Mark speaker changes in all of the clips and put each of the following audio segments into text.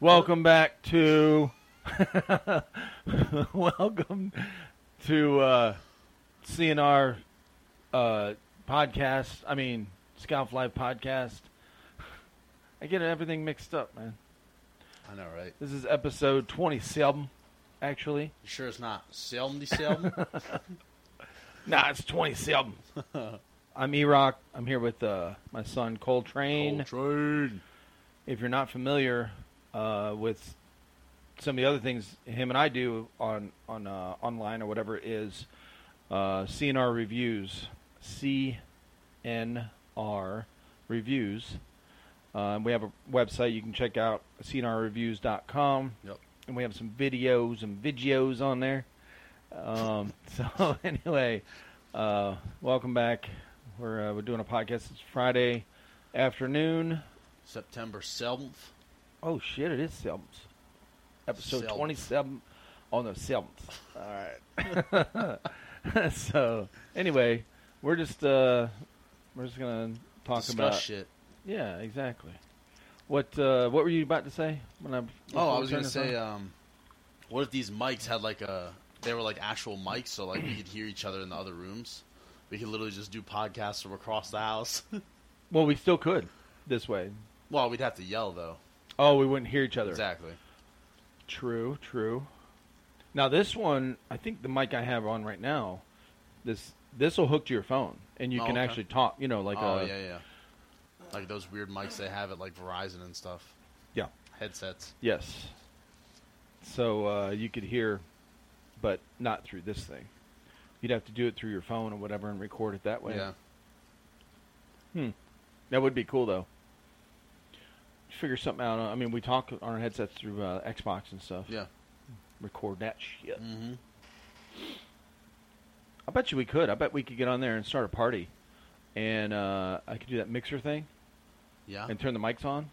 Speaker 1: Welcome back to. Welcome to uh, CNR uh, podcast. I mean, Scout Live podcast. I get everything mixed up, man.
Speaker 2: I know, right?
Speaker 1: This is episode 27, actually.
Speaker 2: You sure it's not seventy-seven?
Speaker 1: Nah, it's 27. I'm E Rock. I'm here with uh, my son Coltrane.
Speaker 2: Train.
Speaker 1: if you're not familiar uh, with some of the other things him and I do on on uh, online or whatever it is, uh, CNR reviews, CNR reviews. Uh, we have a website you can check out, cnrreviews.com.
Speaker 2: Yep.
Speaker 1: And we have some videos and videos on there. Um, so anyway, uh, welcome back. We're uh, we're doing a podcast. It's Friday afternoon.
Speaker 2: September seventh.
Speaker 1: Oh shit! It is seventh. Episode
Speaker 2: Seventh.
Speaker 1: twenty-seven. Oh no, seventh. All right. so anyway, we're just uh, we're just gonna talk
Speaker 2: Discuss
Speaker 1: about
Speaker 2: shit.
Speaker 1: yeah, exactly. What uh, what were you about to say when I?
Speaker 2: Oh,
Speaker 1: before
Speaker 2: I
Speaker 1: we
Speaker 2: was
Speaker 1: turned
Speaker 2: gonna
Speaker 1: this
Speaker 2: say,
Speaker 1: on?
Speaker 2: um, what if these mics had like a? They were like actual mics, so like we could hear each other in the other rooms. We could literally just do podcasts from across the house.
Speaker 1: well, we still could this way.
Speaker 2: well, we'd have to yell though.
Speaker 1: Oh, we wouldn't hear each other.
Speaker 2: Exactly.
Speaker 1: True, true. Now this one, I think the mic I have on right now, this this will hook to your phone, and you
Speaker 2: Oh,
Speaker 1: can
Speaker 2: okay.
Speaker 1: actually talk. You know, like uh,
Speaker 2: oh
Speaker 1: a,
Speaker 2: yeah, yeah. Like those weird mics they have at like Verizon and stuff.
Speaker 1: Yeah.
Speaker 2: Headsets.
Speaker 1: Yes. So uh, you could hear, but not through this thing. You'd have to do it through your phone or whatever and record it that way. Hmm.
Speaker 2: Yeah.
Speaker 1: That would be cool though. Figure something out. I mean, we talk on our headsets through uh, Xbox and stuff.
Speaker 2: Yeah.
Speaker 1: Record that shit.
Speaker 2: Mm-hmm.
Speaker 1: I bet you we could. I bet we could get on there and start a party, and uh, I could do that mixer thing
Speaker 2: Yeah.
Speaker 1: and turn the mics on.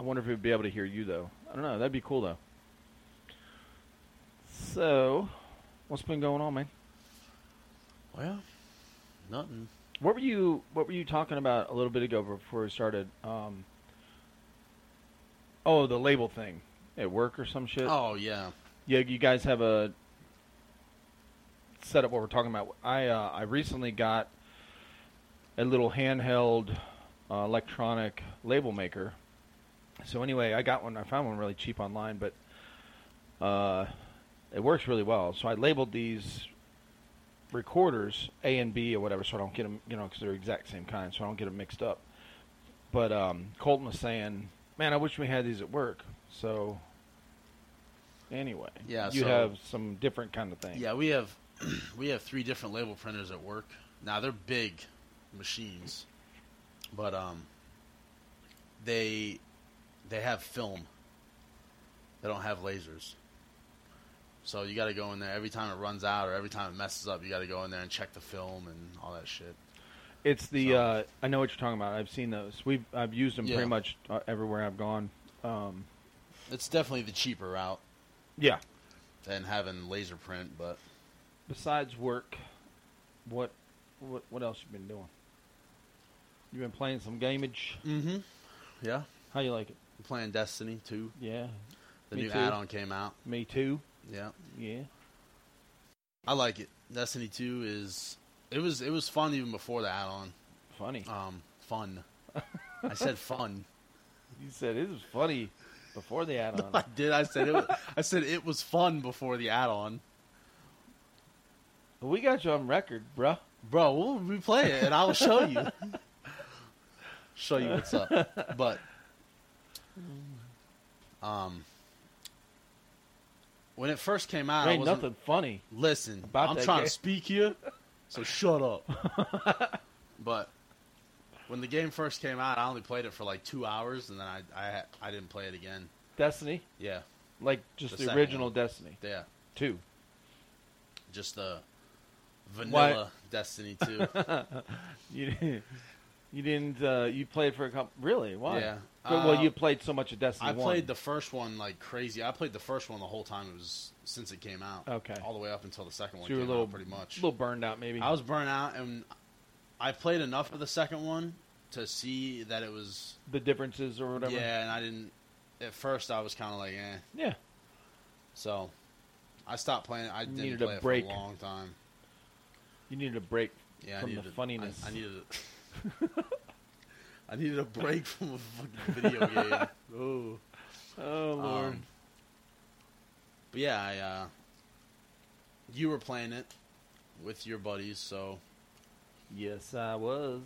Speaker 1: I wonder if we'd be able to hear you though. I don't know. That'd be cool though. So, what's been going on, man?
Speaker 2: Well, Oh, nothing.
Speaker 1: What were you What were you talking about a little bit ago before we started? Um, oh, the label thing at work or some shit.
Speaker 2: Oh yeah.
Speaker 1: Yeah, you guys have a set up what we're talking about. I uh, I recently got a little handheld uh, electronic label maker. So anyway, I got one. I found one really cheap online, but uh, it works really well. So I labeled these recorders A and B or whatever, so I don't get them, you know, because they're exact same kind, so I don't get them mixed up. But um, Colton was saying, "Man, I wish we had these at work." So anyway,
Speaker 2: Yeah,
Speaker 1: you
Speaker 2: so-
Speaker 1: have some different kind of thing.
Speaker 2: Yeah, we have we have three different label printers at work. Now they're big machines, but um, they they have film. They don't have lasers, so you got to go in there every time it runs out or every time it messes up. You got to go in there and check the film and all that shit.
Speaker 1: It's the
Speaker 2: So-
Speaker 1: uh, I know what you're talking about. I've seen those. We've I've used them
Speaker 2: Yeah.
Speaker 1: pretty much uh, everywhere I've gone. Um,
Speaker 2: It's definitely the cheaper route
Speaker 1: yeah.
Speaker 2: than having laser print, but
Speaker 1: Besides work, what what what else you been doing? You've been playing some gamage.
Speaker 2: mm-hmm. yeah,
Speaker 1: How you like it?
Speaker 2: We're playing Destiny too.
Speaker 1: Yeah,
Speaker 2: The
Speaker 1: Me
Speaker 2: new
Speaker 1: too.
Speaker 2: add-on came out.
Speaker 1: me too.
Speaker 2: Yeah.
Speaker 1: Yeah.
Speaker 2: I like it. Destiny Two is it was it was fun even before the add-on.
Speaker 1: Funny.
Speaker 2: Um, fun. I said fun.
Speaker 1: You said it was funny before the add-on.
Speaker 2: I did. I said it. Was, I said it was fun before the add-on.
Speaker 1: we got you on record, bruh.
Speaker 2: Bro, we'll replay it and I'll show you. show you what's up. But um, when it first came out,
Speaker 1: There
Speaker 2: I
Speaker 1: ain't
Speaker 2: wasn't.
Speaker 1: nothing funny.
Speaker 2: Listen,
Speaker 1: About
Speaker 2: I'm
Speaker 1: that
Speaker 2: trying
Speaker 1: game.
Speaker 2: to speak here, so shut up. but when the game first came out, I only played it for like two hours, and then I I, I didn't play it again.
Speaker 1: Destiny,
Speaker 2: Yeah,
Speaker 1: like just
Speaker 2: The
Speaker 1: the,
Speaker 2: second
Speaker 1: original
Speaker 2: one.
Speaker 1: Destiny
Speaker 2: yeah,
Speaker 1: two.
Speaker 2: just the vanilla Destiny Two.
Speaker 1: You didn't. You didn't. Uh, you played for a couple. Really? Why?
Speaker 2: Yeah.
Speaker 1: But, well,
Speaker 2: Uh,
Speaker 1: you played so much of Destiny.
Speaker 2: I
Speaker 1: one.
Speaker 2: played the first one like crazy. I played the first one the whole time. It was since it came out.
Speaker 1: Okay.
Speaker 2: all the way up until the second
Speaker 1: So
Speaker 2: one
Speaker 1: you were a
Speaker 2: came
Speaker 1: little
Speaker 2: out, pretty much.
Speaker 1: little burned out, maybe.
Speaker 2: I was burnt out, and I played enough of the second one to see that it was
Speaker 1: the differences or whatever.
Speaker 2: yeah, and I didn't. At first, I was kind of like, eh.
Speaker 1: Yeah.
Speaker 2: So, I stopped playing. I didn't
Speaker 1: Needed a
Speaker 2: play it
Speaker 1: break.
Speaker 2: for a long time.
Speaker 1: You needed a break.
Speaker 2: Yeah,
Speaker 1: From
Speaker 2: I
Speaker 1: the
Speaker 2: needed a- I-
Speaker 1: funniness.
Speaker 2: I, needed. a- I needed a break from a fucking video game. Oh.
Speaker 1: Oh lord.
Speaker 2: Um, but yeah, I, uh, you were playing it with your buddies, so
Speaker 1: yes, I was.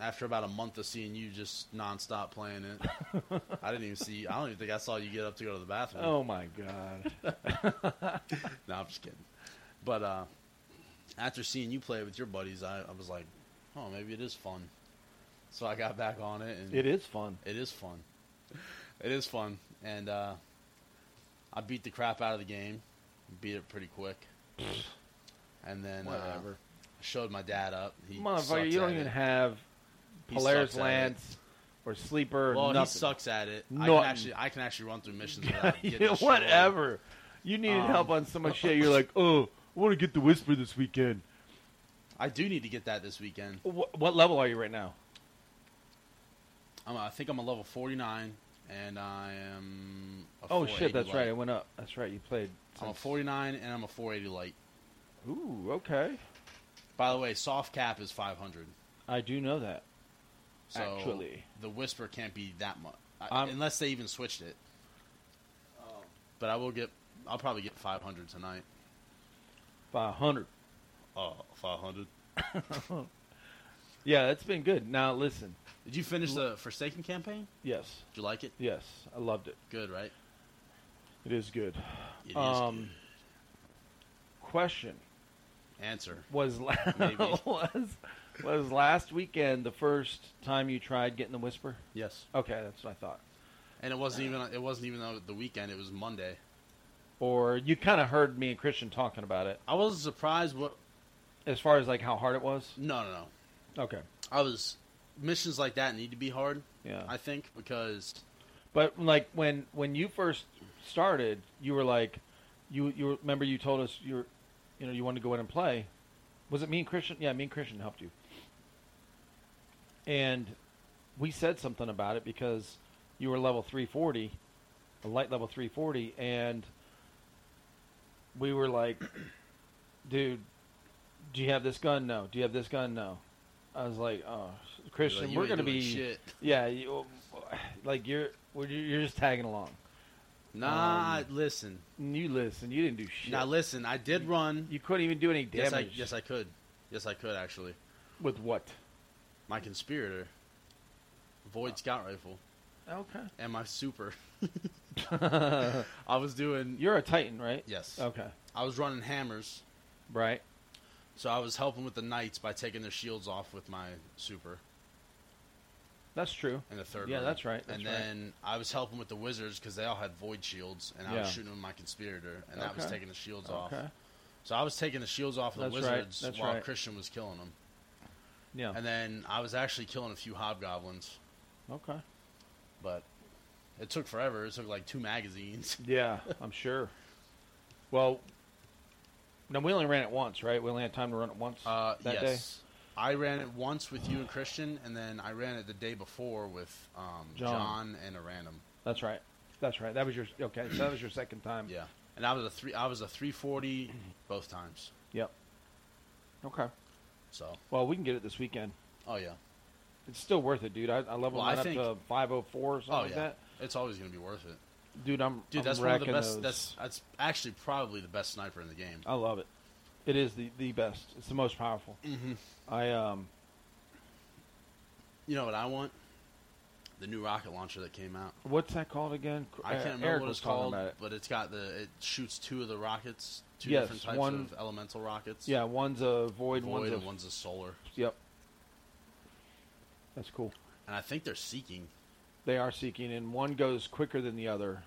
Speaker 2: after about a month of seeing you just nonstop playing it, I didn't even see. I don't even think I saw you get up to go to the bathroom.
Speaker 1: Oh my god.
Speaker 2: No, I'm just kidding. But uh, after seeing you play with your buddies, I, I was like, oh, maybe it is fun. So I got back on it, and
Speaker 1: it is fun.
Speaker 2: it is fun. It is fun, and uh, I beat the crap out of the game, beat it pretty quick, and then uh,
Speaker 1: Whatever.
Speaker 2: showed my dad up. He
Speaker 1: Motherfucker,
Speaker 2: sucks
Speaker 1: you don't
Speaker 2: at
Speaker 1: even
Speaker 2: it.
Speaker 1: have
Speaker 2: He
Speaker 1: Polaris
Speaker 2: sucks at it.
Speaker 1: Lance or Sleeper.
Speaker 2: Well,
Speaker 1: nothing.
Speaker 2: he sucks at it. I can
Speaker 1: Nothing.
Speaker 2: actually, I can actually run through missions without
Speaker 1: Yeah,
Speaker 2: getting destroyed.
Speaker 1: whatever. You needed
Speaker 2: Um,
Speaker 1: help on so much shit. You're like, oh, I want to get the Whisper this weekend.
Speaker 2: I do need to get that this weekend.
Speaker 1: What, what level are you right now?
Speaker 2: I'm, I think I'm a level 49, and I am. A
Speaker 1: Oh shit,
Speaker 2: 480
Speaker 1: that's
Speaker 2: light.
Speaker 1: right. It went up. That's right. You played.
Speaker 2: I'm a
Speaker 1: since-
Speaker 2: 49 and I'm a 480 light.
Speaker 1: Ooh, okay.
Speaker 2: By the way, soft cap is 500.
Speaker 1: I do know that.
Speaker 2: So
Speaker 1: Actually.
Speaker 2: the whisper can't be that much
Speaker 1: I'm-
Speaker 2: unless they even switched it. But I will get. I'll probably get 500 tonight.
Speaker 1: Five hundred.
Speaker 2: Oh, 500.
Speaker 1: Yeah, it's been good. Now listen.
Speaker 2: Did you finish the Forsaken campaign?
Speaker 1: Yes,
Speaker 2: Did you like it?
Speaker 1: yes, I loved it.
Speaker 2: Good, right?
Speaker 1: It is good.
Speaker 2: It is
Speaker 1: Um, question
Speaker 2: good. Answer.
Speaker 1: was la-
Speaker 2: Maybe.
Speaker 1: was was last weekend the first time you tried getting the whisper?
Speaker 2: Yes.
Speaker 1: Okay, that's what I thought.
Speaker 2: And it wasn't even. It wasn't even on the weekend. It was Monday.
Speaker 1: Or you kind of heard me and Christian talking about it
Speaker 2: I was surprised. What?
Speaker 1: as far as like how hard it was.
Speaker 2: No, no, no.
Speaker 1: Okay,
Speaker 2: I was. Missions like that need to be hard.
Speaker 1: yeah.
Speaker 2: I think because
Speaker 1: But like when when you first started, you were like, you you remember you told us you were, you know, you wanted to go in and play. Was it me and Christian? Yeah, me and Christian helped you. And we said something about it because you were level 340, a light level 340, and we were like, dude, do you have this gun? No. Do you have this gun? No. I was like, oh, Christian,
Speaker 2: like, you
Speaker 1: we're
Speaker 2: ain't
Speaker 1: gonna
Speaker 2: doing
Speaker 1: be.
Speaker 2: shit.
Speaker 1: Yeah, you, like you're well, you- you're just tagging along.
Speaker 2: Nah, listen.
Speaker 1: And You listen. You didn't do shit.
Speaker 2: Now listen. I did run.
Speaker 1: you couldn't even do any
Speaker 2: Yes, I,
Speaker 1: damage.
Speaker 2: yes, I could. Yes, I could actually.
Speaker 1: With what?
Speaker 2: My conspirator, void scout rifle,
Speaker 1: Okay.
Speaker 2: and my super. I was doing.
Speaker 1: you're a titan, right?
Speaker 2: Yes.
Speaker 1: Okay.
Speaker 2: I was running hammers,
Speaker 1: Right.
Speaker 2: so I was helping with the knights by taking their shields off with my super
Speaker 1: That's true.
Speaker 2: in the third.
Speaker 1: Yeah,
Speaker 2: round.
Speaker 1: that's right, that's
Speaker 2: and
Speaker 1: right.
Speaker 2: then I was helping with the wizards because they all had void shields, and I
Speaker 1: Yeah.
Speaker 2: was shooting with my conspirator, and that was
Speaker 1: Okay.
Speaker 2: taking the shields off.
Speaker 1: Okay.
Speaker 2: So I was taking the shields off of the
Speaker 1: That's right,
Speaker 2: wizards
Speaker 1: that's
Speaker 2: while
Speaker 1: right. Oh.
Speaker 2: Christian was killing them,
Speaker 1: Yeah.
Speaker 2: and then I was actually killing a few hobgoblins,
Speaker 1: okay.
Speaker 2: but it took forever. It took like two magazines.
Speaker 1: Yeah, I'm sure. Well, no, we only ran it once, right? We only had time to run it once
Speaker 2: Uh,
Speaker 1: that
Speaker 2: yes. I ran it once with you and Christian, and then I ran it the day before with um,
Speaker 1: John.
Speaker 2: John. and a random.
Speaker 1: day. That's right. That's right. That was your okay. So that was your second time.
Speaker 2: Yeah, and I was a three. I was a three forty both times.
Speaker 1: Yep. Okay.
Speaker 2: So,
Speaker 1: Well, we can get it this weekend.
Speaker 2: oh yeah,
Speaker 1: It's still worth it, dude. I, I level
Speaker 2: Well, I
Speaker 1: mine up
Speaker 2: think-
Speaker 1: to 504 or something
Speaker 2: oh
Speaker 1: like
Speaker 2: yeah,
Speaker 1: that.
Speaker 2: it's always gonna be worth it,
Speaker 1: Dude, I'm
Speaker 2: dude.
Speaker 1: I'm
Speaker 2: that's one of the
Speaker 1: wrecking
Speaker 2: best.
Speaker 1: those.
Speaker 2: That's that's actually probably the best sniper in the game.
Speaker 1: I love it. It is the the best. It's the most powerful.
Speaker 2: Mm-hmm.
Speaker 1: I um
Speaker 2: You know what I want? The new rocket launcher that came out.
Speaker 1: what's that called again?
Speaker 2: I can't
Speaker 1: Uh,
Speaker 2: remember
Speaker 1: Eric
Speaker 2: what
Speaker 1: was
Speaker 2: it's
Speaker 1: talking
Speaker 2: called,
Speaker 1: about it.
Speaker 2: but it's got the it shoots two of the rockets, two
Speaker 1: Yes,
Speaker 2: different types
Speaker 1: one-
Speaker 2: of elemental rockets.
Speaker 1: Yeah, one's a void,
Speaker 2: void
Speaker 1: one's a
Speaker 2: and one's a solar.
Speaker 1: yep. That's cool.
Speaker 2: And I think they're seeking.
Speaker 1: They are seeking and one goes quicker than the other.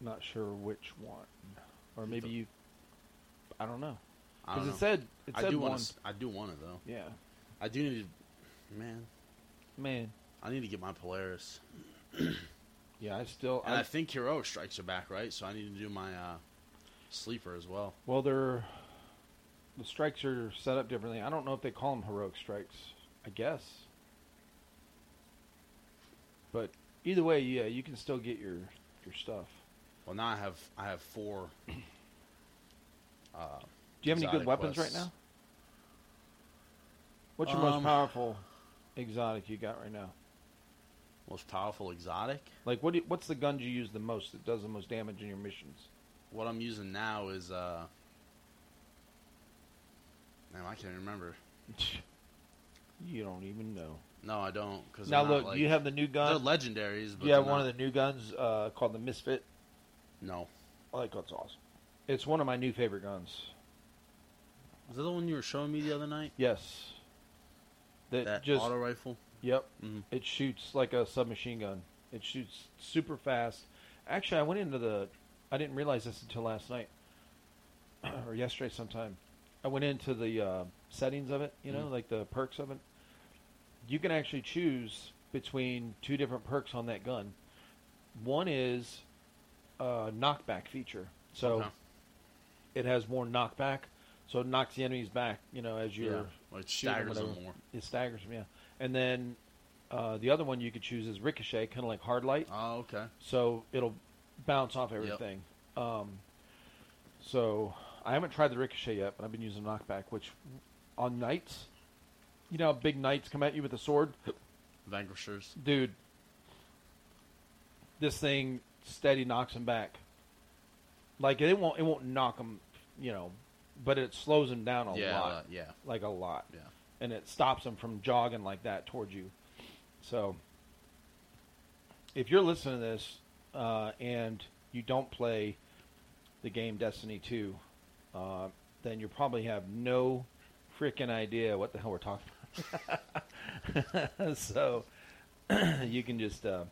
Speaker 1: Not sure which one. Or maybe you I don't know.
Speaker 2: I don't
Speaker 1: Cuz
Speaker 2: know.
Speaker 1: it said it
Speaker 2: I
Speaker 1: said
Speaker 2: do
Speaker 1: one.
Speaker 2: want. I do want it though.
Speaker 1: Yeah.
Speaker 2: I do need. to... Man,
Speaker 1: Man.
Speaker 2: I need to get my Polaris.
Speaker 1: Yeah, I still
Speaker 2: And
Speaker 1: I-
Speaker 2: I think Heroic Strikes are back, right? So I need to do my uh, sleeper as well.
Speaker 1: Well, they're the strikes are set up differently. I don't know if they call them heroic strikes. I guess. But either way, yeah, you can still get your your stuff.
Speaker 2: Well, now I have I have four. Uh,
Speaker 1: Do you have any good
Speaker 2: Exotic
Speaker 1: weapons
Speaker 2: quests.
Speaker 1: right now? What's your
Speaker 2: Um,
Speaker 1: most powerful exotic you got right now?
Speaker 2: most powerful exotic.
Speaker 1: Like, what? Do you, what's the gun you use the most that does the most damage in your missions?
Speaker 2: What I'm using now is uh. Damn, I can't remember.
Speaker 1: you don't even know.
Speaker 2: No, I don't. Cause
Speaker 1: Now
Speaker 2: they're not,
Speaker 1: look,
Speaker 2: like-
Speaker 1: you have the new gun.
Speaker 2: They're legendaries, but
Speaker 1: You have
Speaker 2: they're
Speaker 1: one
Speaker 2: not-
Speaker 1: of the new guns uh, called the Misfit.
Speaker 2: no.
Speaker 1: I like that's awesome. It's one of my new favorite guns.
Speaker 2: Is that the one you were showing me the other night?
Speaker 1: Yes. That,
Speaker 2: That
Speaker 1: just
Speaker 2: auto rifle.
Speaker 1: yep.
Speaker 2: Mhm.
Speaker 1: It shoots like a submachine gun. It shoots super fast. Actually, I went into the. I didn't realize this until last night, or yesterday sometime. I went into the uh, settings of it. You
Speaker 2: Mm-hmm.
Speaker 1: know, like the perks of it. You can actually choose between two different perks on that gun. One is a knockback feature. So
Speaker 2: Okay.
Speaker 1: it has more knockback, so it knocks the enemies back. You know, as you're
Speaker 2: yeah, Well, it
Speaker 1: shooting
Speaker 2: staggers them
Speaker 1: whatever.
Speaker 2: more.
Speaker 1: it staggers them, yeah. And then uh, the other one you could choose is Ricochet, kind of like Hard Light.
Speaker 2: Oh, okay.
Speaker 1: So it'll bounce off everything. Um, so I haven't tried the Ricochet yet, but I've been using Knockback, which on knights, you know how big knights come at you with a sword?
Speaker 2: Vanquishers.
Speaker 1: Dude, this thing steady knocks them back. Like it won't, it won't knock them, you know, but it slows them down a
Speaker 2: yeah,
Speaker 1: lot
Speaker 2: uh, yeah,
Speaker 1: like a lot.
Speaker 2: Yeah.
Speaker 1: And it stops them from jogging like that towards you. So if you're listening to this uh, and you don't play the game Destiny 2, uh, then you probably have no freaking idea what the hell we're talking about. so you can just uh,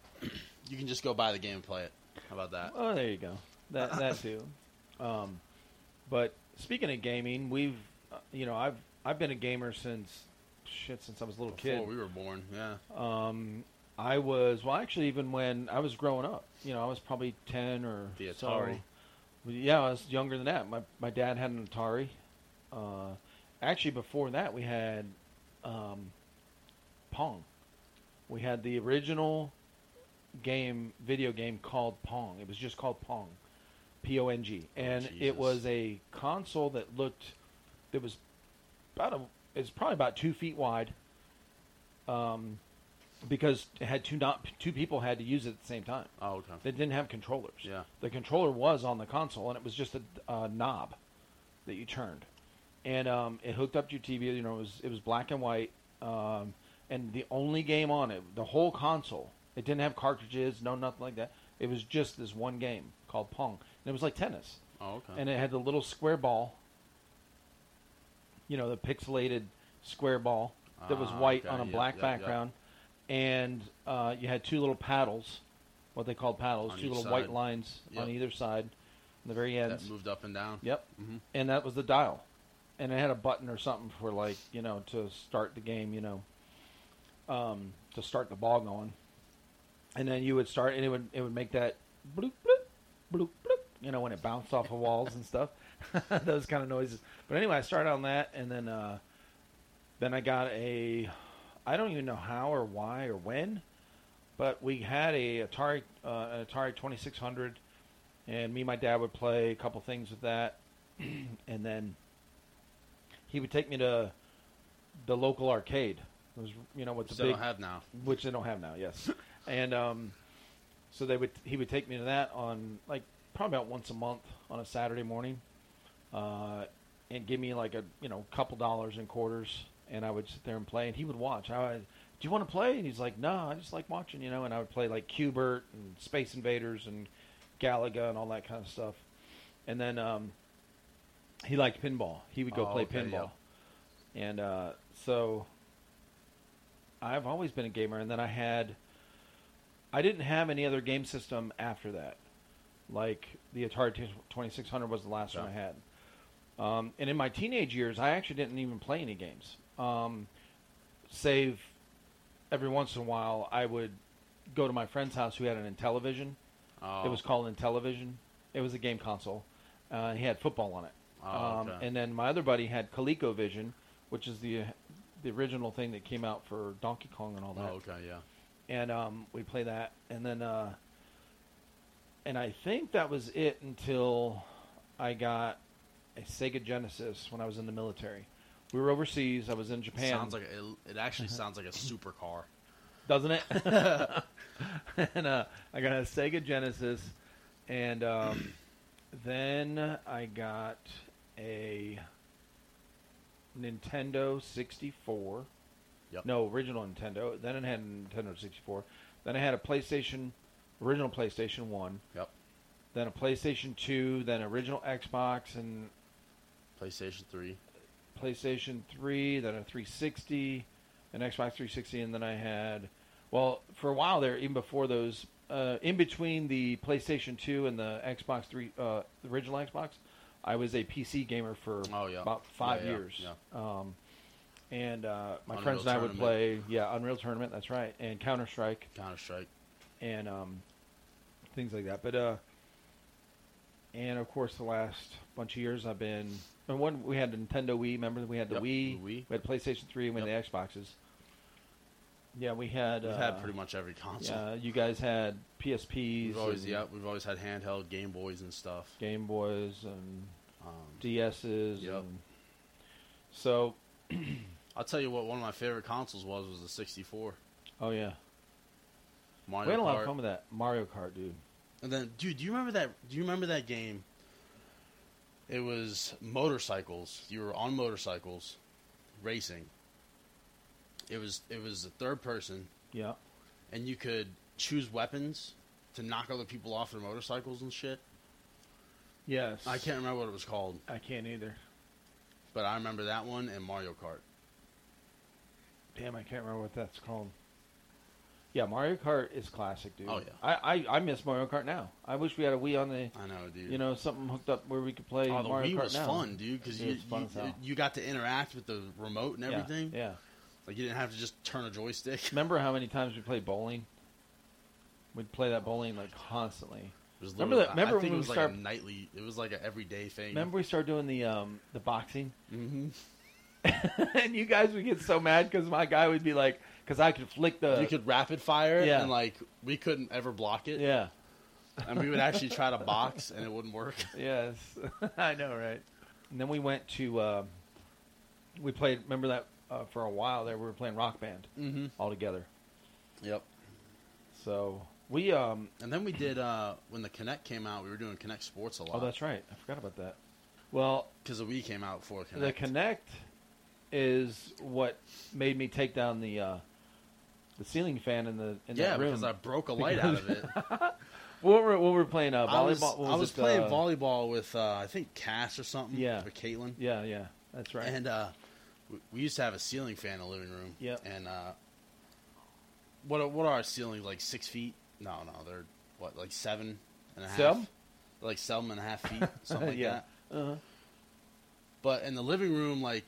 Speaker 2: You can just go buy the game and play it. How about that?
Speaker 1: Oh, there you go. That that too. Um, but speaking of gaming, we've uh, you know I've I've been a gamer since shit since I was a little
Speaker 2: Before
Speaker 1: kid.
Speaker 2: we were born. Yeah.
Speaker 1: Um, I was well actually even when I was growing up, you know I was probably ten or
Speaker 2: The
Speaker 1: so.
Speaker 2: Atari.
Speaker 1: Yeah, I was younger than that. My my dad had an Atari. Uh, actually, before that we had um, Pong. We had the original game video game called Pong. It was just called Pong, P O N G, and it
Speaker 2: Jesus.
Speaker 1: was a console that looked. It was about a. It's probably about two feet wide. Um, because it had two not two people had to use it at the same time.
Speaker 2: Oh, okay.
Speaker 1: They didn't have controllers.
Speaker 2: Yeah.
Speaker 1: The controller was on the console, and it was just a, a knob that you turned, and um, it hooked up to your TV. You know, it was it was black and white, um, and the only game on it, the whole console, it didn't have cartridges, no nothing like that. It was just this one game called Pong, and it was like tennis,
Speaker 2: Oh, okay.
Speaker 1: and it had the little square ball. You know, the pixelated square ball that was
Speaker 2: Ah,
Speaker 1: white
Speaker 2: okay,
Speaker 1: on a
Speaker 2: yep,
Speaker 1: black
Speaker 2: yep, yep.
Speaker 1: background, and uh, you had two little paddles, what they called paddles,
Speaker 2: On
Speaker 1: two
Speaker 2: each
Speaker 1: little
Speaker 2: side.
Speaker 1: white lines on
Speaker 2: Yep.
Speaker 1: either side, on the very
Speaker 2: that
Speaker 1: ends.
Speaker 2: moved up and down.
Speaker 1: Yep,
Speaker 2: Mhm.
Speaker 1: and that was the dial, and it had a button or something for like you know to start the game, you know, um, to start the ball going, and then you would start, and it would it would make that bloop bloop bloop bloop, you know, when it bounced off of walls and stuff, those kind of noises. But anyway, I started on that, and then uh, then I got a, I don't even know how or why or when, but we had a Atari uh, an Atari twenty six hundred, and me and my dad would play a couple things with that, and then he would take me to the local arcade. It was you know what's
Speaker 2: Which
Speaker 1: a
Speaker 2: I
Speaker 1: big
Speaker 2: don't have now.
Speaker 1: which they don't have now. Yes, and um, so they would he would take me to that on like probably about once a month on a Saturday morning, uh, and give me like a you know couple dollars and quarters, and I would sit there and play, and he would watch. I would, do you want to play? And he's like, no, I just like watching, you know. And I would play like Cubert and Space Invaders and Galaga and all that kind of stuff. And then um, he liked pinball. He would go
Speaker 2: Oh,
Speaker 1: play
Speaker 2: okay,
Speaker 1: pinball. And uh, so I've always been a gamer, and then I had I didn't have any other game system after that. Like the Atari 2600 was the last
Speaker 2: Yeah.
Speaker 1: one I had. Um, and in my teenage years, I actually didn't even play any games. Um, save every once in a while, I would go to my friend's house who had an Intellivision.
Speaker 2: Oh,
Speaker 1: It was called Intellivision. It was a game console. Uh, he had football on it.
Speaker 2: Oh,
Speaker 1: Um,
Speaker 2: okay.
Speaker 1: and then my other buddy had ColecoVision, which is the the original thing that came out for Donkey Kong and all
Speaker 2: Oh,
Speaker 1: that.
Speaker 2: okay, yeah.
Speaker 1: And um, we play that, and then uh, and I think that was it until I got a Sega Genesis when I was in the military. We were overseas. I was in Japan.
Speaker 2: Sounds like a, it. It actually
Speaker 1: Uh-huh.
Speaker 2: sounds like a supercar.
Speaker 1: doesn't it? and uh, I got a Sega Genesis, and um, then I got a Nintendo 64.
Speaker 2: Yep.
Speaker 1: No, original Nintendo. Then it had a Nintendo 64. Then I had a PlayStation, original PlayStation 1.
Speaker 2: Yep.
Speaker 1: Then a PlayStation 2. Then original Xbox and
Speaker 2: PlayStation Three.
Speaker 1: PlayStation 3, then a 360, an Xbox 360, and then I had, well, for a while there, even before those, uh, in between the PlayStation 2 and the Xbox 3, uh, the original Xbox, I was a PC gamer for
Speaker 2: Oh, yeah.
Speaker 1: about five
Speaker 2: Yeah, yeah,
Speaker 1: years. Um, and uh, my
Speaker 2: Unreal
Speaker 1: friends and I would
Speaker 2: Tournament.
Speaker 1: play, yeah, Unreal Tournament, that's right, and Counter Strike
Speaker 2: Counter Strike.
Speaker 1: and um, things like that. But uh, and of course, the last bunch of years I've been. And one we had Nintendo Wii. Remember we had the Wii.
Speaker 2: Yep, the Wii.
Speaker 1: We had PlayStation Three. and We had the Xboxes. Yeah, we had.
Speaker 2: We've
Speaker 1: uh,
Speaker 2: had pretty much every console.
Speaker 1: Yeah, you guys had PSPs.
Speaker 2: We've always
Speaker 1: and
Speaker 2: yeah, we've always had handheld Game Boys and stuff.
Speaker 1: Game Boys and
Speaker 2: Um,
Speaker 1: DSs.
Speaker 2: Yep.
Speaker 1: And so,
Speaker 2: I'll tell you what, one of my favorite consoles was was the 64
Speaker 1: oh yeah,
Speaker 2: Mario
Speaker 1: we had a lot
Speaker 2: Kart.
Speaker 1: of fun with that Mario Kart, dude.
Speaker 2: And then, dude, do you remember that? Do you remember that game? It was motorcycles. You were on motorcycles, racing. It was it was the third person,
Speaker 1: Yeah.
Speaker 2: and you could choose weapons to knock other people off their motorcycles and shit.
Speaker 1: Yes.
Speaker 2: I can't remember what it was called,
Speaker 1: I can't either.
Speaker 2: but I remember that one and Mario Kart.
Speaker 1: Damn, I can't remember what that's called. Yeah, Mario Kart is classic, dude.
Speaker 2: Oh, yeah.
Speaker 1: I, I, I miss Mario Kart now. I wish we had a Wii on the,
Speaker 2: I know, dude.
Speaker 1: you know, something hooked up where we could play
Speaker 2: oh, the
Speaker 1: Mario
Speaker 2: Wii
Speaker 1: Kart
Speaker 2: was
Speaker 1: now.
Speaker 2: fun, dude, because
Speaker 1: It
Speaker 2: you
Speaker 1: was fun as
Speaker 2: you,
Speaker 1: hell.
Speaker 2: you got to interact with the remote and
Speaker 1: Yeah,
Speaker 2: everything.
Speaker 1: Yeah.
Speaker 2: Like you didn't have to just turn a joystick.
Speaker 1: Remember how many times we played bowling? We'd play that bowling like constantly.
Speaker 2: It was
Speaker 1: Remember
Speaker 2: literally-
Speaker 1: that-
Speaker 2: I-
Speaker 1: remember
Speaker 2: I think
Speaker 1: when
Speaker 2: it
Speaker 1: we
Speaker 2: was like
Speaker 1: start-
Speaker 2: a nightly. It was like an everyday thing.
Speaker 1: Remember we started doing the um the boxing,
Speaker 2: Mm-hmm.
Speaker 1: and you guys would get so mad because my guy would be like, because I could flick the
Speaker 2: you could rapid fire,
Speaker 1: yeah.
Speaker 2: and like we couldn't ever block it.
Speaker 1: yeah
Speaker 2: And we would actually try to box, and it wouldn't work.
Speaker 1: Yes, I know, right? And then we went to uh, we played. Remember that uh, for a while there, we were playing Rock Band
Speaker 2: Mm-hmm.
Speaker 1: all together.
Speaker 2: Yep.
Speaker 1: So we um
Speaker 2: And then we did uh, when the Connect came out. We were doing Connect Sports a lot.
Speaker 1: oh that's right, I forgot about that. Well,
Speaker 2: because the Wii came out for
Speaker 1: the
Speaker 2: Connect.
Speaker 1: Connect is what made me take down the uh, the ceiling fan in the in
Speaker 2: yeah,
Speaker 1: that room.
Speaker 2: because I broke a light out of it.
Speaker 1: What were we were playing uh, volleyball.
Speaker 2: I was,
Speaker 1: what
Speaker 2: I was
Speaker 1: it,
Speaker 2: playing
Speaker 1: uh,
Speaker 2: volleyball with uh, I think Cass or something.
Speaker 1: Yeah.
Speaker 2: with Caitlin.
Speaker 1: Yeah, yeah, that's right.
Speaker 2: And uh, we- we used to have a ceiling fan in the living room.
Speaker 1: Yep.
Speaker 2: And uh, what are, what are our ceilings like? Six feet? No, no, they're what like seven and a half.
Speaker 1: Seven?
Speaker 2: Like seven and a half feet, something like
Speaker 1: Yeah.
Speaker 2: that.
Speaker 1: uh
Speaker 2: But in the living room, like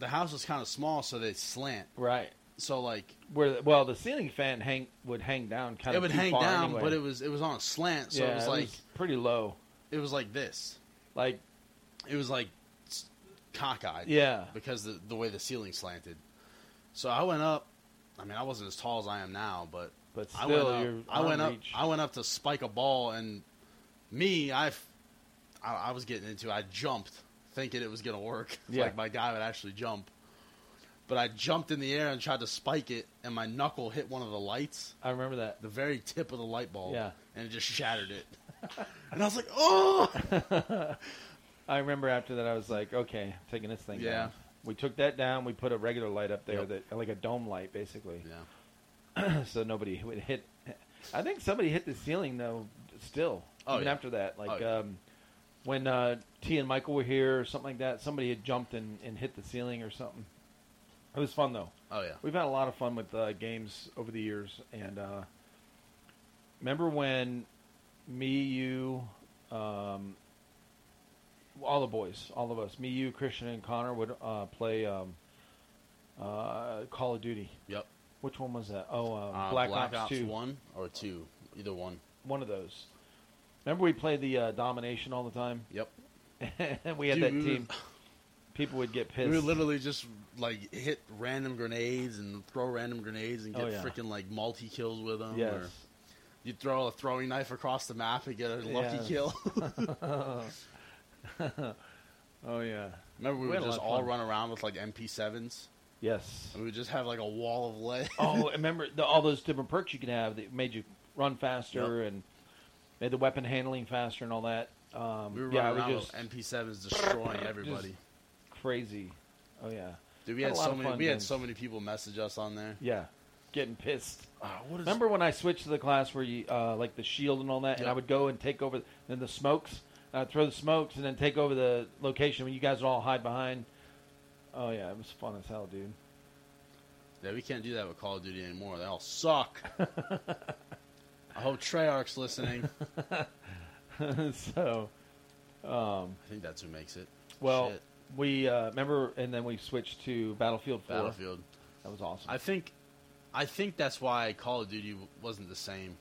Speaker 2: the house was kind of small, so they slant.
Speaker 1: right.
Speaker 2: So like
Speaker 1: Where the- well, the ceiling fan hang would hang down kind
Speaker 2: it
Speaker 1: of
Speaker 2: would
Speaker 1: too
Speaker 2: hang
Speaker 1: far
Speaker 2: down,
Speaker 1: anyway.
Speaker 2: but it was it was on a slant, so
Speaker 1: yeah,
Speaker 2: it was like
Speaker 1: pretty low.
Speaker 2: it was like this.
Speaker 1: Like
Speaker 2: It was like s- cockeyed.
Speaker 1: yeah,
Speaker 2: because the the way the ceiling slanted. So I went up. I mean, I wasn't as tall as I am now, but
Speaker 1: but
Speaker 2: I
Speaker 1: still
Speaker 2: went up.
Speaker 1: you're
Speaker 2: I
Speaker 1: on
Speaker 2: went
Speaker 1: reach.
Speaker 2: up. I went up to spike a ball, and me, I, f- I, I was getting into. it. I jumped, thinking it was gonna work.
Speaker 1: Yeah.
Speaker 2: Like my guy would actually jump, but I jumped in the air and tried to spike it, and my knuckle hit one of the lights,
Speaker 1: I remember that.
Speaker 2: the very tip of the light bulb,
Speaker 1: Yeah.
Speaker 2: and it just shattered it. and I was like, oh,
Speaker 1: I remember after that I was like, okay, I'm taking this thing
Speaker 2: Yeah.
Speaker 1: down. We took that down. We put a regular light up there
Speaker 2: Yep.
Speaker 1: that like a dome light basically,
Speaker 2: yeah.
Speaker 1: so nobody would hit. I think somebody hit the ceiling though. Still,
Speaker 2: Oh,
Speaker 1: even
Speaker 2: yeah.
Speaker 1: after that, like
Speaker 2: Oh, yeah.
Speaker 1: um, when uh, T and Michael were here or something like that, somebody had jumped and, and hit the ceiling or something. It was fun though.
Speaker 2: Oh yeah.
Speaker 1: We've had a lot of fun with uh, games over the years, and uh, remember when me, you, um, all the boys, all of us, me, you, Christian, and Connor would uh, play um, uh, Call of Duty.
Speaker 2: Yep.
Speaker 1: Which one was that? Oh, um,
Speaker 2: Uh,
Speaker 1: Black,
Speaker 2: Black
Speaker 1: Ops, Two. One.
Speaker 2: one or two, either one.
Speaker 1: of those. Remember we played the uh, Domination all the time,
Speaker 2: Yep.
Speaker 1: and we had
Speaker 2: Dude,
Speaker 1: that
Speaker 2: we were-
Speaker 1: team. People would get pissed.
Speaker 2: We would literally just like hit random grenades and throw random grenades and get
Speaker 1: Oh, yeah.
Speaker 2: freaking like multi kills with them.
Speaker 1: yes.
Speaker 2: Or you throw a throwing knife across the map and get a lucky
Speaker 1: Yes.
Speaker 2: kill.
Speaker 1: Oh yeah.
Speaker 2: Remember, we,
Speaker 1: We had a
Speaker 2: would
Speaker 1: lot
Speaker 2: just
Speaker 1: of
Speaker 2: all
Speaker 1: fun.
Speaker 2: run around with like MP7s.
Speaker 1: Yes.
Speaker 2: And we would just have like a wall of lead.
Speaker 1: oh, remember the, all those different perks you could have that made you run faster and made the weapon handling faster and all that. Um,
Speaker 2: we were
Speaker 1: yeah, it
Speaker 2: running
Speaker 1: was
Speaker 2: around
Speaker 1: just
Speaker 2: with MP7s destroying everybody.
Speaker 1: crazy. Oh yeah,
Speaker 2: Dude, we
Speaker 1: Had
Speaker 2: had
Speaker 1: a lot
Speaker 2: so
Speaker 1: of
Speaker 2: many.
Speaker 1: fun
Speaker 2: We had
Speaker 1: games.
Speaker 2: so many people message us on there.
Speaker 1: yeah, getting pissed.
Speaker 2: Ah, what is
Speaker 1: Remember when I switched to the class where you uh, like the shield and all that, and
Speaker 2: Yeah.
Speaker 1: I would go and take over then the smokes, uh, throw the smokes, and then take over the location when you guys would all hide behind. Oh yeah, it was fun as hell, dude.
Speaker 2: Yeah, we can't do that with Call of Duty anymore. They all suck. I hope Treyarch's listening. I
Speaker 1: so, um,
Speaker 2: think that's who makes it.
Speaker 1: well,
Speaker 2: Shit.
Speaker 1: we uh, remember, and then we switched to Battlefield Four.
Speaker 2: Battlefield.
Speaker 1: That was awesome.
Speaker 2: I think, I think that's why Call of Duty w- wasn't the same,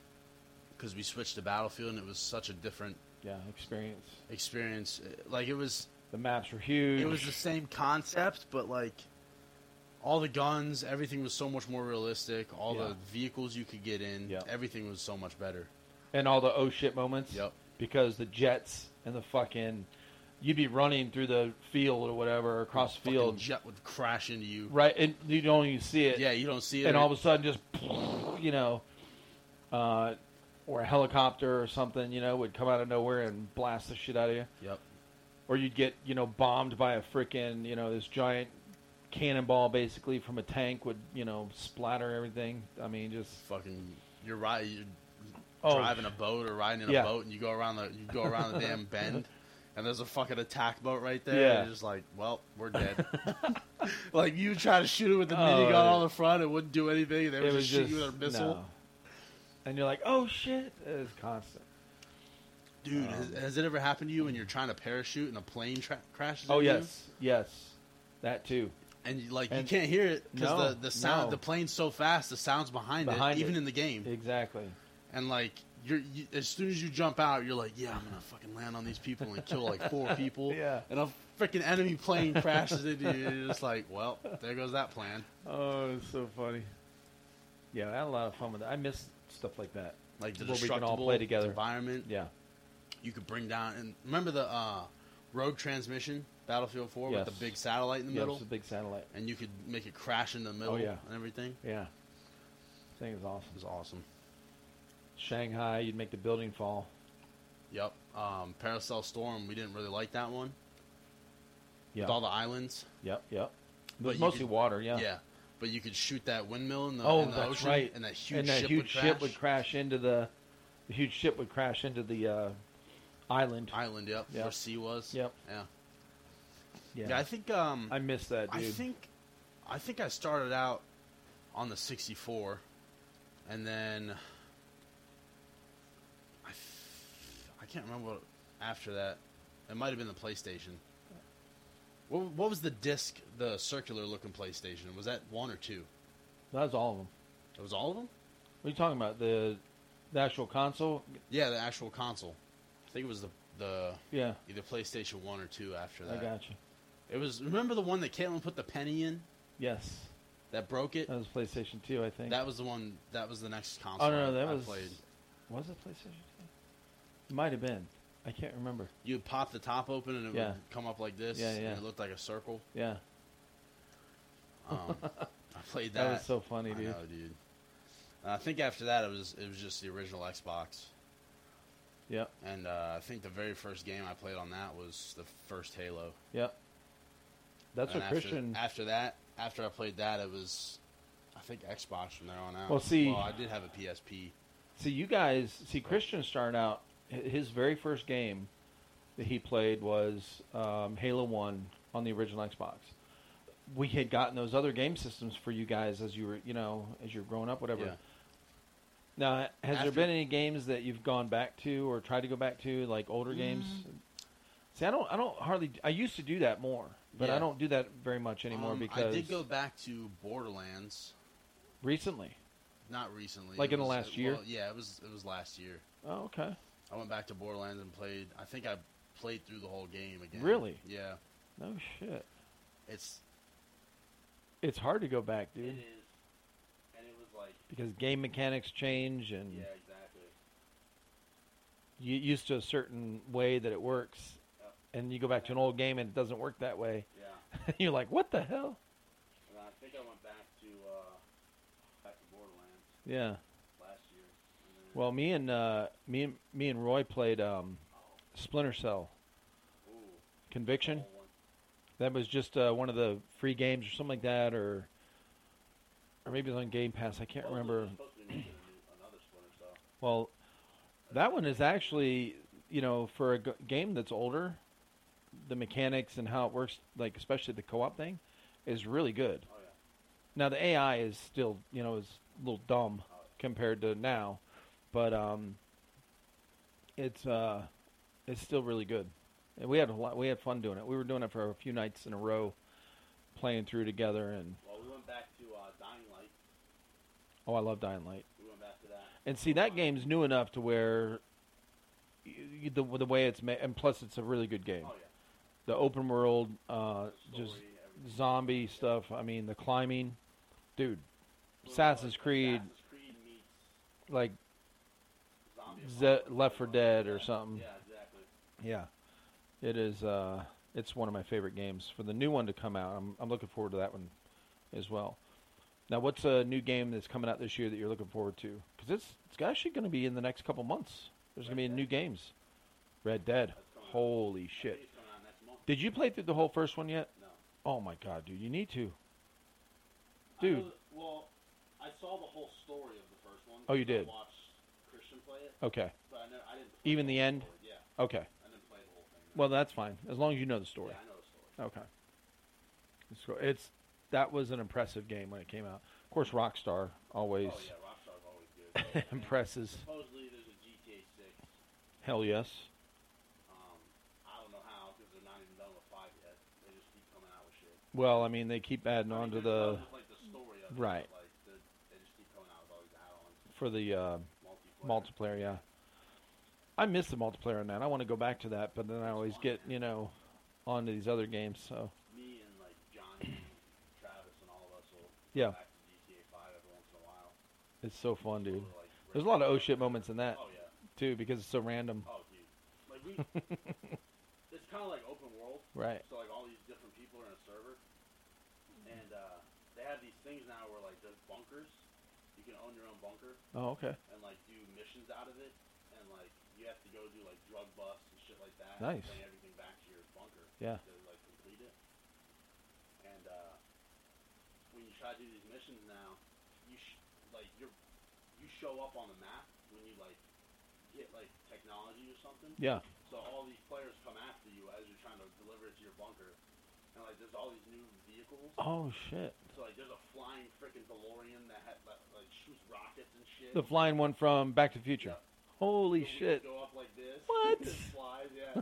Speaker 2: because we switched to Battlefield and it was such a different
Speaker 1: yeah, experience.
Speaker 2: experience. Uh, Like it was,
Speaker 1: The maps were huge.
Speaker 2: it was the same concept, but like all the guns, everything was so much more realistic. All
Speaker 1: Yeah.
Speaker 2: the vehicles you could get in,
Speaker 1: Yeah.
Speaker 2: everything was so much better.
Speaker 1: and all the oh shit moments.
Speaker 2: Yep.
Speaker 1: Because the jets and the fucking, you'd be running through the field or whatever, across the
Speaker 2: Oh, Fucking
Speaker 1: field,
Speaker 2: jet would crash into you.
Speaker 1: right, and you don't even see it.
Speaker 2: Yeah, you don't see it.
Speaker 1: And
Speaker 2: or-
Speaker 1: all of a sudden, just you know, uh, or a helicopter or something, you know, would come out of nowhere and blast the shit out of you.
Speaker 2: Yep.
Speaker 1: Or you'd get you know bombed by a freaking you know this giant cannonball basically from a tank would you know splatter everything. I mean, just
Speaker 2: Fucking, you're right. You're
Speaker 1: Oh.
Speaker 2: driving a boat or riding in
Speaker 1: Yeah.
Speaker 2: a boat, and you go around the you go around the damn bend, and there's a fucking attack boat right there.
Speaker 1: Yeah.
Speaker 2: And you're just like, well, we're dead. like you try to shoot it with the
Speaker 1: Oh,
Speaker 2: minigun
Speaker 1: it-
Speaker 2: on the front, it wouldn't do anything. They would
Speaker 1: it was
Speaker 2: just shoot
Speaker 1: just
Speaker 2: you with a missile.
Speaker 1: no. And you're like, oh shit! It's constant.
Speaker 2: Dude,
Speaker 1: Um,
Speaker 2: has, has it ever happened to you when you're trying to parachute and a plane tra- crashes?
Speaker 1: Oh
Speaker 2: into you?
Speaker 1: yes, yes, that too.
Speaker 2: and you, like
Speaker 1: And-
Speaker 2: you can't hear it because
Speaker 1: No,
Speaker 2: the, the sound
Speaker 1: no.
Speaker 2: the plane's so fast, the sound's behind,
Speaker 1: Behind
Speaker 2: it, even
Speaker 1: it.
Speaker 2: in the game.
Speaker 1: Exactly.
Speaker 2: and like you're you, as soon as you jump out, you're like, yeah, I'm gonna fucking land on these people and kill like four people.
Speaker 1: Yeah.
Speaker 2: And a freaking enemy plane crashes into you. and You're just like, well, there goes that plan.
Speaker 1: Oh, it's so funny. Yeah, I had a lot of fun with that. I miss stuff like that.
Speaker 2: Like the
Speaker 1: Where we can all
Speaker 2: destructible
Speaker 1: play together.
Speaker 2: environment.
Speaker 1: Yeah.
Speaker 2: You could bring down and remember the uh, rogue transmission Battlefield Four with
Speaker 1: Yes.
Speaker 2: the big satellite in the
Speaker 1: yeah,
Speaker 2: middle,
Speaker 1: it's a big satellite.
Speaker 2: and you could make it crash in the middle
Speaker 1: Oh, yeah.
Speaker 2: and everything.
Speaker 1: Yeah. Thing is awesome.
Speaker 2: It was awesome.
Speaker 1: Shanghai, you'd make the building fall.
Speaker 2: Yep. Um, Paracel Storm. We didn't really like that one
Speaker 1: Yeah.
Speaker 2: with all the islands.
Speaker 1: Yep. Yep. It
Speaker 2: But
Speaker 1: was
Speaker 2: you
Speaker 1: mostly
Speaker 2: could-
Speaker 1: water. Yeah.
Speaker 2: Yeah. But you could shoot that windmill in the,
Speaker 1: Oh,
Speaker 2: in the
Speaker 1: that's
Speaker 2: ocean,
Speaker 1: right.
Speaker 2: and that huge,
Speaker 1: and that
Speaker 2: ship,
Speaker 1: huge
Speaker 2: would
Speaker 1: ship
Speaker 2: crash.
Speaker 1: would crash into the, the huge ship would crash into the uh, island.
Speaker 2: Island, yep,
Speaker 1: Yeah.
Speaker 2: where sea was.
Speaker 1: Yep.
Speaker 2: Yeah.
Speaker 1: Yeah.
Speaker 2: Yeah, I think um,
Speaker 1: I miss that,
Speaker 2: I
Speaker 1: dude.
Speaker 2: think, I think I started out on the 64, and then I, f- I can't remember what after that. It might have been the PlayStation. What, what was the disc, the circular looking PlayStation? Was that one or two?
Speaker 1: that was all of them.
Speaker 2: It was all of them.
Speaker 1: What are you talking about? The, the actual console?
Speaker 2: Yeah, the actual console. I think it was the the
Speaker 1: Yeah.
Speaker 2: either PlayStation One or two after
Speaker 1: I
Speaker 2: that.
Speaker 1: got you.
Speaker 2: It was remember the one that Caitlin put the penny in
Speaker 1: Yes.
Speaker 2: that broke it.
Speaker 1: That was PlayStation 2, I think.
Speaker 2: That was the one. That was the next console.
Speaker 1: Oh, no, no,
Speaker 2: I-
Speaker 1: that
Speaker 2: I
Speaker 1: was-
Speaker 2: played.
Speaker 1: Was it PlayStation 2? Might have been. I can't remember.
Speaker 2: You would pop the top open and it
Speaker 1: Yeah.
Speaker 2: would come up like this.
Speaker 1: Yeah, yeah.
Speaker 2: And it looked like a circle.
Speaker 1: Yeah.
Speaker 2: Um, I played
Speaker 1: That,
Speaker 2: that.
Speaker 1: was so funny,
Speaker 2: I
Speaker 1: dude.
Speaker 2: know, dude. And I think after that it was it was just the original Xbox,
Speaker 1: Yep.
Speaker 2: and uh, I think the very first game I played on that was the first Halo.
Speaker 1: Yep. That's
Speaker 2: And
Speaker 1: what
Speaker 2: after-
Speaker 1: Christian.
Speaker 2: After that, after I played that, it was, I think Xbox from there on out.
Speaker 1: Well, see-
Speaker 2: well, I did have a PSP.
Speaker 1: see, you guys. See, Christian started out. hi- His very first game that he played was um, Halo 1 on the original Xbox. We had gotten those other game systems for you guys as you were, you know, as you were growing up, whatever.
Speaker 2: Yeah.
Speaker 1: Now, has there
Speaker 2: After-
Speaker 1: been any games that you've gone back to or tried to go back to, like older games? See, I don't, I don't hardly. I used to do that more, but I
Speaker 2: Yeah.
Speaker 1: don't do that very much anymore
Speaker 2: Um,
Speaker 1: because
Speaker 2: I did go back to Borderlands,
Speaker 1: recently.
Speaker 2: not recently,
Speaker 1: Like
Speaker 2: It
Speaker 1: in the
Speaker 2: was-
Speaker 1: last
Speaker 2: it-
Speaker 1: year?
Speaker 2: well, yeah, it was it was last year.
Speaker 1: Oh, okay.
Speaker 2: I went back to Borderlands and played. I think I played through the whole game again.
Speaker 1: Really?
Speaker 2: Yeah.
Speaker 1: No shit.
Speaker 3: It's
Speaker 1: It's hard to go back,
Speaker 2: It
Speaker 1: dude,
Speaker 2: is. And it was like,
Speaker 1: because game mechanics change, and
Speaker 2: yeah, exactly.
Speaker 1: you used to a certain way that it works,
Speaker 2: Yep.
Speaker 1: and you go back to an old game and it doesn't work that way.
Speaker 2: Yeah.
Speaker 1: You're like, what the hell?
Speaker 2: And I think I went back to uh, back to Borderlands
Speaker 1: Yeah.
Speaker 2: last year. And then,
Speaker 1: Well, me and uh, me and me and Roy played um, Splinter Cell
Speaker 2: ooh,
Speaker 1: Conviction.
Speaker 2: whole one.
Speaker 1: That was just uh, one of the free games or something like that, or or maybe it was on Game Pass. I can't
Speaker 2: Well,
Speaker 1: remember.
Speaker 2: they're supposed to be making a new- another Splinter Cell.
Speaker 1: Well, that one is actually, you know, for a g- game that's older, the mechanics and how it works, like especially the co-op thing, is really good.
Speaker 2: Oh yeah.
Speaker 1: Now the AI is still, you know, is a little dumb compared to now, but um, it's uh, it's still really good. And we had a lot. We had fun doing it. We were doing it for a few nights in a row, playing through together. And
Speaker 2: Well, we went back to uh, Dying Light.
Speaker 1: oh, I love Dying Light.
Speaker 2: We went back to that.
Speaker 1: And see, that game's new enough to where y- y- the the way it's made, and plus it's a really good game.
Speaker 2: Oh yeah.
Speaker 1: The open world, uh, just
Speaker 2: Story, everything.
Speaker 1: zombie stuff. I mean, the climbing, dude.
Speaker 2: It was
Speaker 1: Assassin's
Speaker 2: like
Speaker 1: Creed,
Speaker 2: Assassin's Creed meets
Speaker 1: like
Speaker 2: Zombie.
Speaker 1: Ze-
Speaker 2: Apocalypse.
Speaker 1: Left 4 Dead or
Speaker 2: Yeah,
Speaker 1: something.
Speaker 2: Yeah, exactly.
Speaker 1: Yeah, it is. Uh, it's one of my favorite games. For the new one to come out, I'm I'm looking forward to that one as well. Now, what's a new game that's coming out this year that you're looking forward to? Because it's it's actually going to be in the next couple months. There's going to be
Speaker 2: Red
Speaker 1: new games. Red Dead.
Speaker 2: That's coming out.
Speaker 1: Holy
Speaker 2: I
Speaker 1: shit!
Speaker 2: think it's coming out next month.
Speaker 1: Did you play through the whole first one yet?
Speaker 2: No.
Speaker 1: Oh my god, dude, you need to.
Speaker 2: I know
Speaker 1: Dude.
Speaker 2: that- well, I saw the whole story of the first one.
Speaker 1: Oh, you
Speaker 2: because
Speaker 1: did?
Speaker 2: I watched Christian play it,
Speaker 1: Okay,
Speaker 2: but I, know, I didn't. play
Speaker 1: Even the
Speaker 2: whole
Speaker 1: end?
Speaker 2: story. Yeah,
Speaker 1: okay.
Speaker 2: I didn't play the whole thing.
Speaker 1: Well, that's fine as long as you know the story.
Speaker 2: Yeah, I know the story.
Speaker 1: Okay. It's go- it's that was an impressive game when it came out. Of course, Rockstar always
Speaker 2: Oh yeah, Rockstar's always good.
Speaker 1: impresses.
Speaker 2: Supposedly there's a GTA 6.
Speaker 1: Hell yes.
Speaker 2: Um, I don't know how because they're not even done with five yet. They just keep coming out with shit.
Speaker 1: Well, I mean, they keep adding
Speaker 2: I
Speaker 1: on to
Speaker 2: mean, they're
Speaker 1: the
Speaker 2: done with, like the story of it,
Speaker 1: Right.
Speaker 2: but, Like they're- they just keep coming out with all these add-ons,
Speaker 1: for the uh,
Speaker 2: multiplayer.
Speaker 1: multiplayer. Yeah, I miss the multiplayer on that. I want to go back to that, but then I always get you know onto these other games. So
Speaker 2: Me and like Johnny, and Travis, and all of us will
Speaker 1: Yeah.
Speaker 2: go back to GTA 5 every once in a while.
Speaker 1: it's so fun, dude.
Speaker 2: We're, like,
Speaker 1: There's a
Speaker 2: ripping
Speaker 1: lot of
Speaker 2: it
Speaker 1: oh
Speaker 2: up.
Speaker 1: shit moments in that
Speaker 2: Oh yeah.
Speaker 1: too because it's so random.
Speaker 2: Oh dude. Like we. it's kind of like open world.
Speaker 1: Right.
Speaker 2: So like all these different people are in a server, and uh, they have these things now where like there's bunkers. You can own your own bunker
Speaker 1: Oh, okay.
Speaker 2: and like do missions out of it, and like you have to go do like drug busts and shit like that.
Speaker 1: Nice.
Speaker 2: And bring everything back to your bunker.
Speaker 1: Yeah.
Speaker 2: To like complete it. And uh, when you try to do these missions now, you sh- like you're you show up on the map when you like get like technology or something.
Speaker 1: Yeah.
Speaker 2: So all these players come after you as you're trying to deliver it to your bunker. And like there's all these new vehicles.
Speaker 1: Oh shit.
Speaker 2: So like there's a flying freaking DeLorean that had like, like shoots rockets and shit.
Speaker 1: The flying one from Back to the Future.
Speaker 2: Yeah.
Speaker 1: Holy
Speaker 2: So we
Speaker 1: shit.
Speaker 2: Go up like this.
Speaker 1: What?
Speaker 2: It flies, yeah.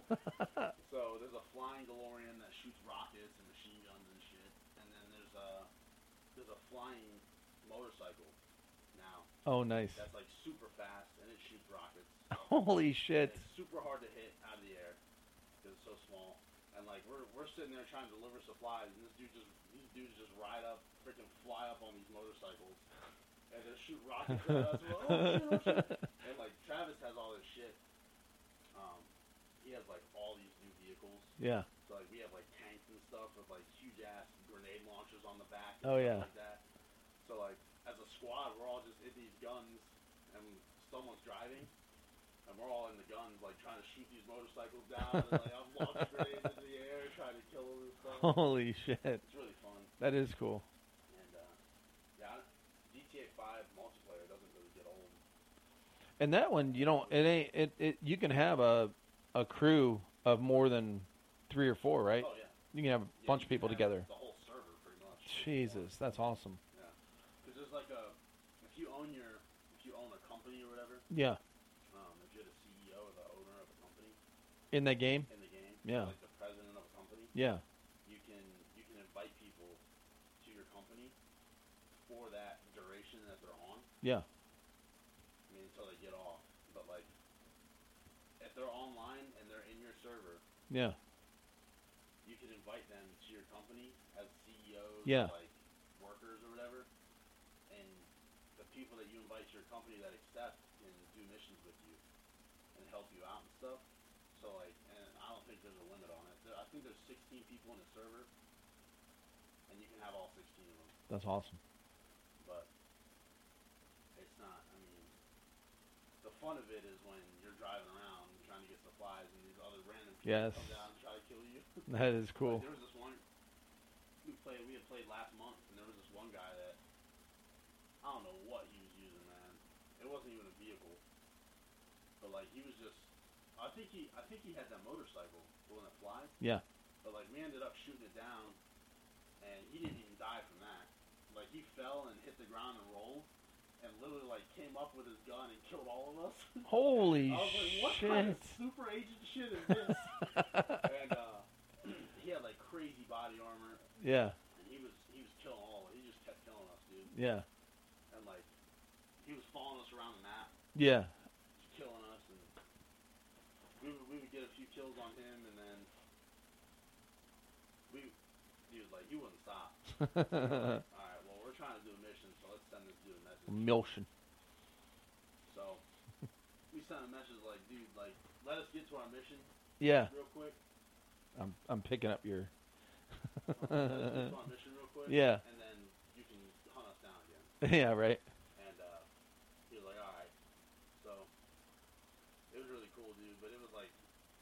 Speaker 2: so there's a flying DeLorean that shoots rockets and machine guns and shit. And then there's a there's a flying motorcycle now
Speaker 1: Oh nice.
Speaker 2: that's like super fast and it shoots rockets.
Speaker 1: Holy
Speaker 2: And
Speaker 1: shit.
Speaker 2: it's super hard to hit out of the air because it's so small. And like we're we're sitting there trying to deliver supplies, and this dude just these dudes just ride up, freaking fly up on these motorcycles, and they shoot rockets at us. We're like, "Oh, shit, oh, shit." and like Travis has all this shit. Um, he has like all these new vehicles.
Speaker 1: Yeah.
Speaker 2: So like we have like tanks and stuff with like huge ass grenade launchers on the back.
Speaker 1: Oh,
Speaker 2: And stuff
Speaker 1: yeah.
Speaker 2: Like that. So like as a squad, we're all just in these guns, and someone's driving, and we're all in the guns like trying to shoot these motorcycles down. and like I'm launching grenades into the air, trying to kill them and stuff.
Speaker 1: Holy shit.
Speaker 2: It's really fun.
Speaker 1: That is cool.
Speaker 2: And uh, yeah, I- GTA 5 multiplayer doesn't really get old.
Speaker 1: And that one, you don't. It ain't. It, it. You can have a a crew of more than three or four, right?
Speaker 2: Oh yeah.
Speaker 1: You can have a
Speaker 2: Yeah,
Speaker 1: bunch of
Speaker 2: you
Speaker 1: people
Speaker 2: can have
Speaker 1: together.
Speaker 2: The whole server, pretty much.
Speaker 1: Jesus, that's awesome.
Speaker 2: Yeah. Because there's like a, if you own your, if you own a company or whatever.
Speaker 1: Yeah,
Speaker 2: um, if you're the CEO or the owner of a company
Speaker 1: in that game.
Speaker 2: in the game,
Speaker 1: Yeah.
Speaker 2: like the president of a company,
Speaker 1: Yeah.
Speaker 2: you can you can invite people to your company for that duration that they're on.
Speaker 1: Yeah.
Speaker 2: I mean, until they get off. But like, if they're online and they're in your server,
Speaker 1: Yeah.
Speaker 2: you can invite them to your company as CEOs,
Speaker 1: Yeah.
Speaker 2: or, like workers or whatever, and the people that you invite to your company that accept and do missions with you and help you out and stuff. So like, and I don't think there's a limit on it. There, I think there's 16 people in the server, and you can have all 16 of them.
Speaker 1: That's awesome.
Speaker 2: But it's not. I mean, the fun of it is when you're driving around and trying to get supplies, and these other random people
Speaker 1: Yes.
Speaker 2: come down and try to kill you.
Speaker 1: That is cool.
Speaker 2: Like, there was this one we played. We had played last month, and there was this one guy that I don't know what he was using, man. It wasn't even a vehicle, but like he was just. I think he, I think he had that motorcycle, the one that flies.
Speaker 1: Yeah.
Speaker 2: But like we ended up shooting it down, and he didn't even die from that. Like he fell and hit the ground and rolled, and literally like came up with his gun and killed all of us.
Speaker 1: Holy
Speaker 2: I was like, what
Speaker 1: shit.
Speaker 2: kind of super agent shit is this? and uh, he had like crazy body armor,
Speaker 1: yeah,
Speaker 2: and he was he was killing all. He just kept killing us, dude.
Speaker 1: yeah,
Speaker 2: And like he was following us around the map,
Speaker 1: yeah.
Speaker 2: just killing us, and we would, we would get a few kills on him, and then we dude like he wouldn't stop. All right, well we're trying to do a mission, so let's send this dude a message.
Speaker 1: Milton.
Speaker 2: So we sent a message like, dude, like let us get to our mission
Speaker 1: Yeah,
Speaker 2: real quick.
Speaker 1: I'm I'm picking up your.
Speaker 2: Let's get to our mission real quick.
Speaker 1: Yeah.
Speaker 2: And then you can hunt us down again.
Speaker 1: yeah, right.
Speaker 2: And uh, he was like, all right. So it was really cool, dude. But it was like,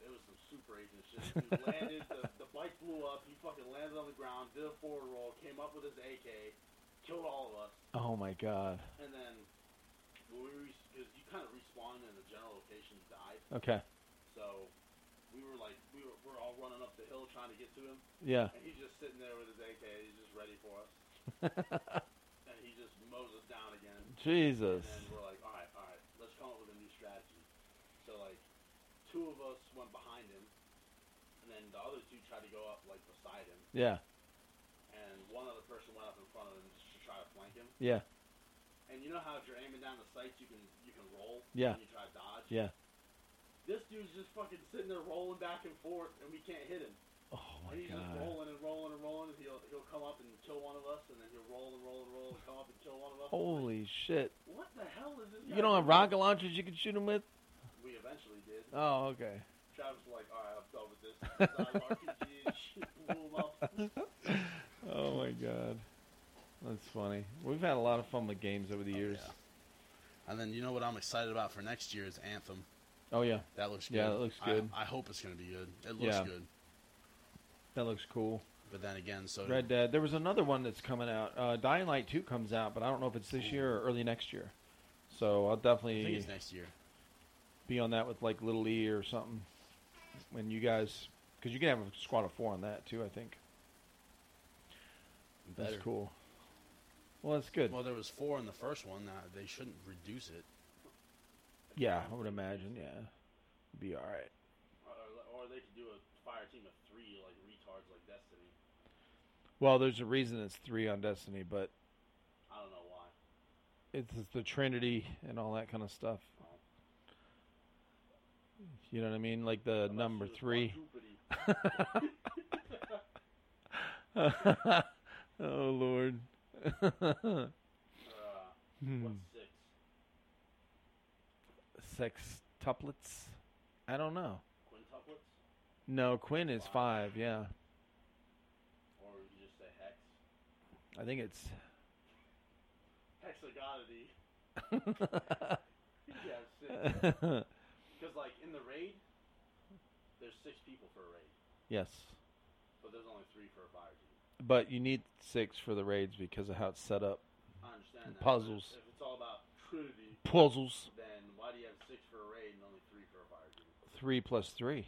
Speaker 2: it was some super agent shit. He landed, the, the bike blew up. He fucking landed on the ground, did a forward roll, came up with his AK, killed all of us.
Speaker 1: Oh my god.
Speaker 2: And then when we res- cause you kind of respawned in the general location, you died.
Speaker 1: Okay.
Speaker 2: So we were like, we were, we're all running up the hill trying to get to him.
Speaker 1: Yeah.
Speaker 2: And he's just sitting there with his AK. He's just ready for us. and he just mows us down again.
Speaker 1: Jesus.
Speaker 2: And then we're like, all right, all right, let's come up with a new strategy. So like, two of us went behind him, and then the other two tried to go up like beside him,
Speaker 1: Yeah.
Speaker 2: and one other person went up in front of him just to try to flank him.
Speaker 1: Yeah.
Speaker 2: And you know how if you're aiming down the sights, you can you can roll.
Speaker 1: Yeah.
Speaker 2: And you try to dodge.
Speaker 1: Yeah.
Speaker 2: This dude's just fucking sitting there rolling back and forth, and we can't hit him.
Speaker 1: Oh my
Speaker 2: and he's just
Speaker 1: god.
Speaker 2: rolling and rolling and rolling. And he'll he'll come up and kill one of us, and then he'll roll and roll and roll and come up and kill one of us.
Speaker 1: Holy shit.
Speaker 2: What the hell is this?
Speaker 1: You
Speaker 2: guy
Speaker 1: don't have
Speaker 2: doing?
Speaker 1: rocket launchers you can shoot him with?
Speaker 2: We eventually did.
Speaker 1: Oh, okay.
Speaker 2: Travis was like, alright, I'm done with this. Design RPG and shit blew him up.
Speaker 1: Oh my god. That's funny. We've had a lot of fun with games over the years.
Speaker 4: yeah. And then you know what I'm excited about for next year is Anthem.
Speaker 1: Oh yeah.
Speaker 4: That looks good.
Speaker 1: Yeah, it looks
Speaker 4: I-
Speaker 1: good.
Speaker 4: I, hope it's going to be good. It looks
Speaker 1: Yeah.
Speaker 4: good.
Speaker 1: That looks cool.
Speaker 4: But then again, so
Speaker 1: Red Dead. There was another one that's coming out. Uh, Dying Light 2 comes out, but I don't know if it's this year or early next year. So I'll
Speaker 4: I think
Speaker 1: definitely
Speaker 4: it's next year.
Speaker 1: be on that with like Little E or something. When you guys, because you can have a squad of four on that too. I think
Speaker 4: Better.
Speaker 1: that's cool. Well, that's good.
Speaker 4: Well, there was four in the first one. Now they shouldn't reduce it.
Speaker 1: yeah, I would imagine. Yeah, be all right.
Speaker 2: Or, or they could do a fire team of three, like retards like Destiny.
Speaker 1: Well, there's a reason it's three on Destiny, but
Speaker 2: I don't know why.
Speaker 1: it's the Trinity and all that kind of stuff. You know what I mean? Like the
Speaker 2: Unless
Speaker 1: number
Speaker 2: it was Uh,
Speaker 1: three.
Speaker 2: quadrupedy.
Speaker 1: oh Lord.
Speaker 2: Uh,
Speaker 1: Hmm.
Speaker 2: What's six?
Speaker 1: Sex tuplets? I don't know.
Speaker 2: Quintuplets?
Speaker 1: No, Quinn is five. Yeah,
Speaker 2: Or would you just say hex?
Speaker 1: I think it's
Speaker 2: Hexagonity. yeah, six.
Speaker 1: yes.
Speaker 2: Because, like, in the raid, there's six people for a raid, but there's only three for a fire team.
Speaker 1: But you need six for the raids because of how it's set up.
Speaker 2: I understand that. but
Speaker 1: Puzzles.
Speaker 2: If it's all about Trinity,
Speaker 1: Puzzles.
Speaker 2: then why do you have six for a raid and only three for a fire team?
Speaker 1: Three plus three.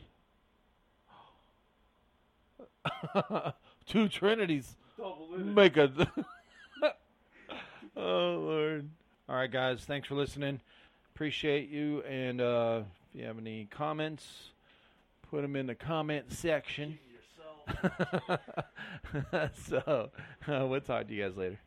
Speaker 1: Two trinities
Speaker 2: Double it.
Speaker 1: make a. oh, Lord. All right, guys. Thanks for listening. Appreciate you. And uh, if you have any comments, put them in the comment section.
Speaker 2: yourself.
Speaker 1: so uh, we'll talk to you guys later.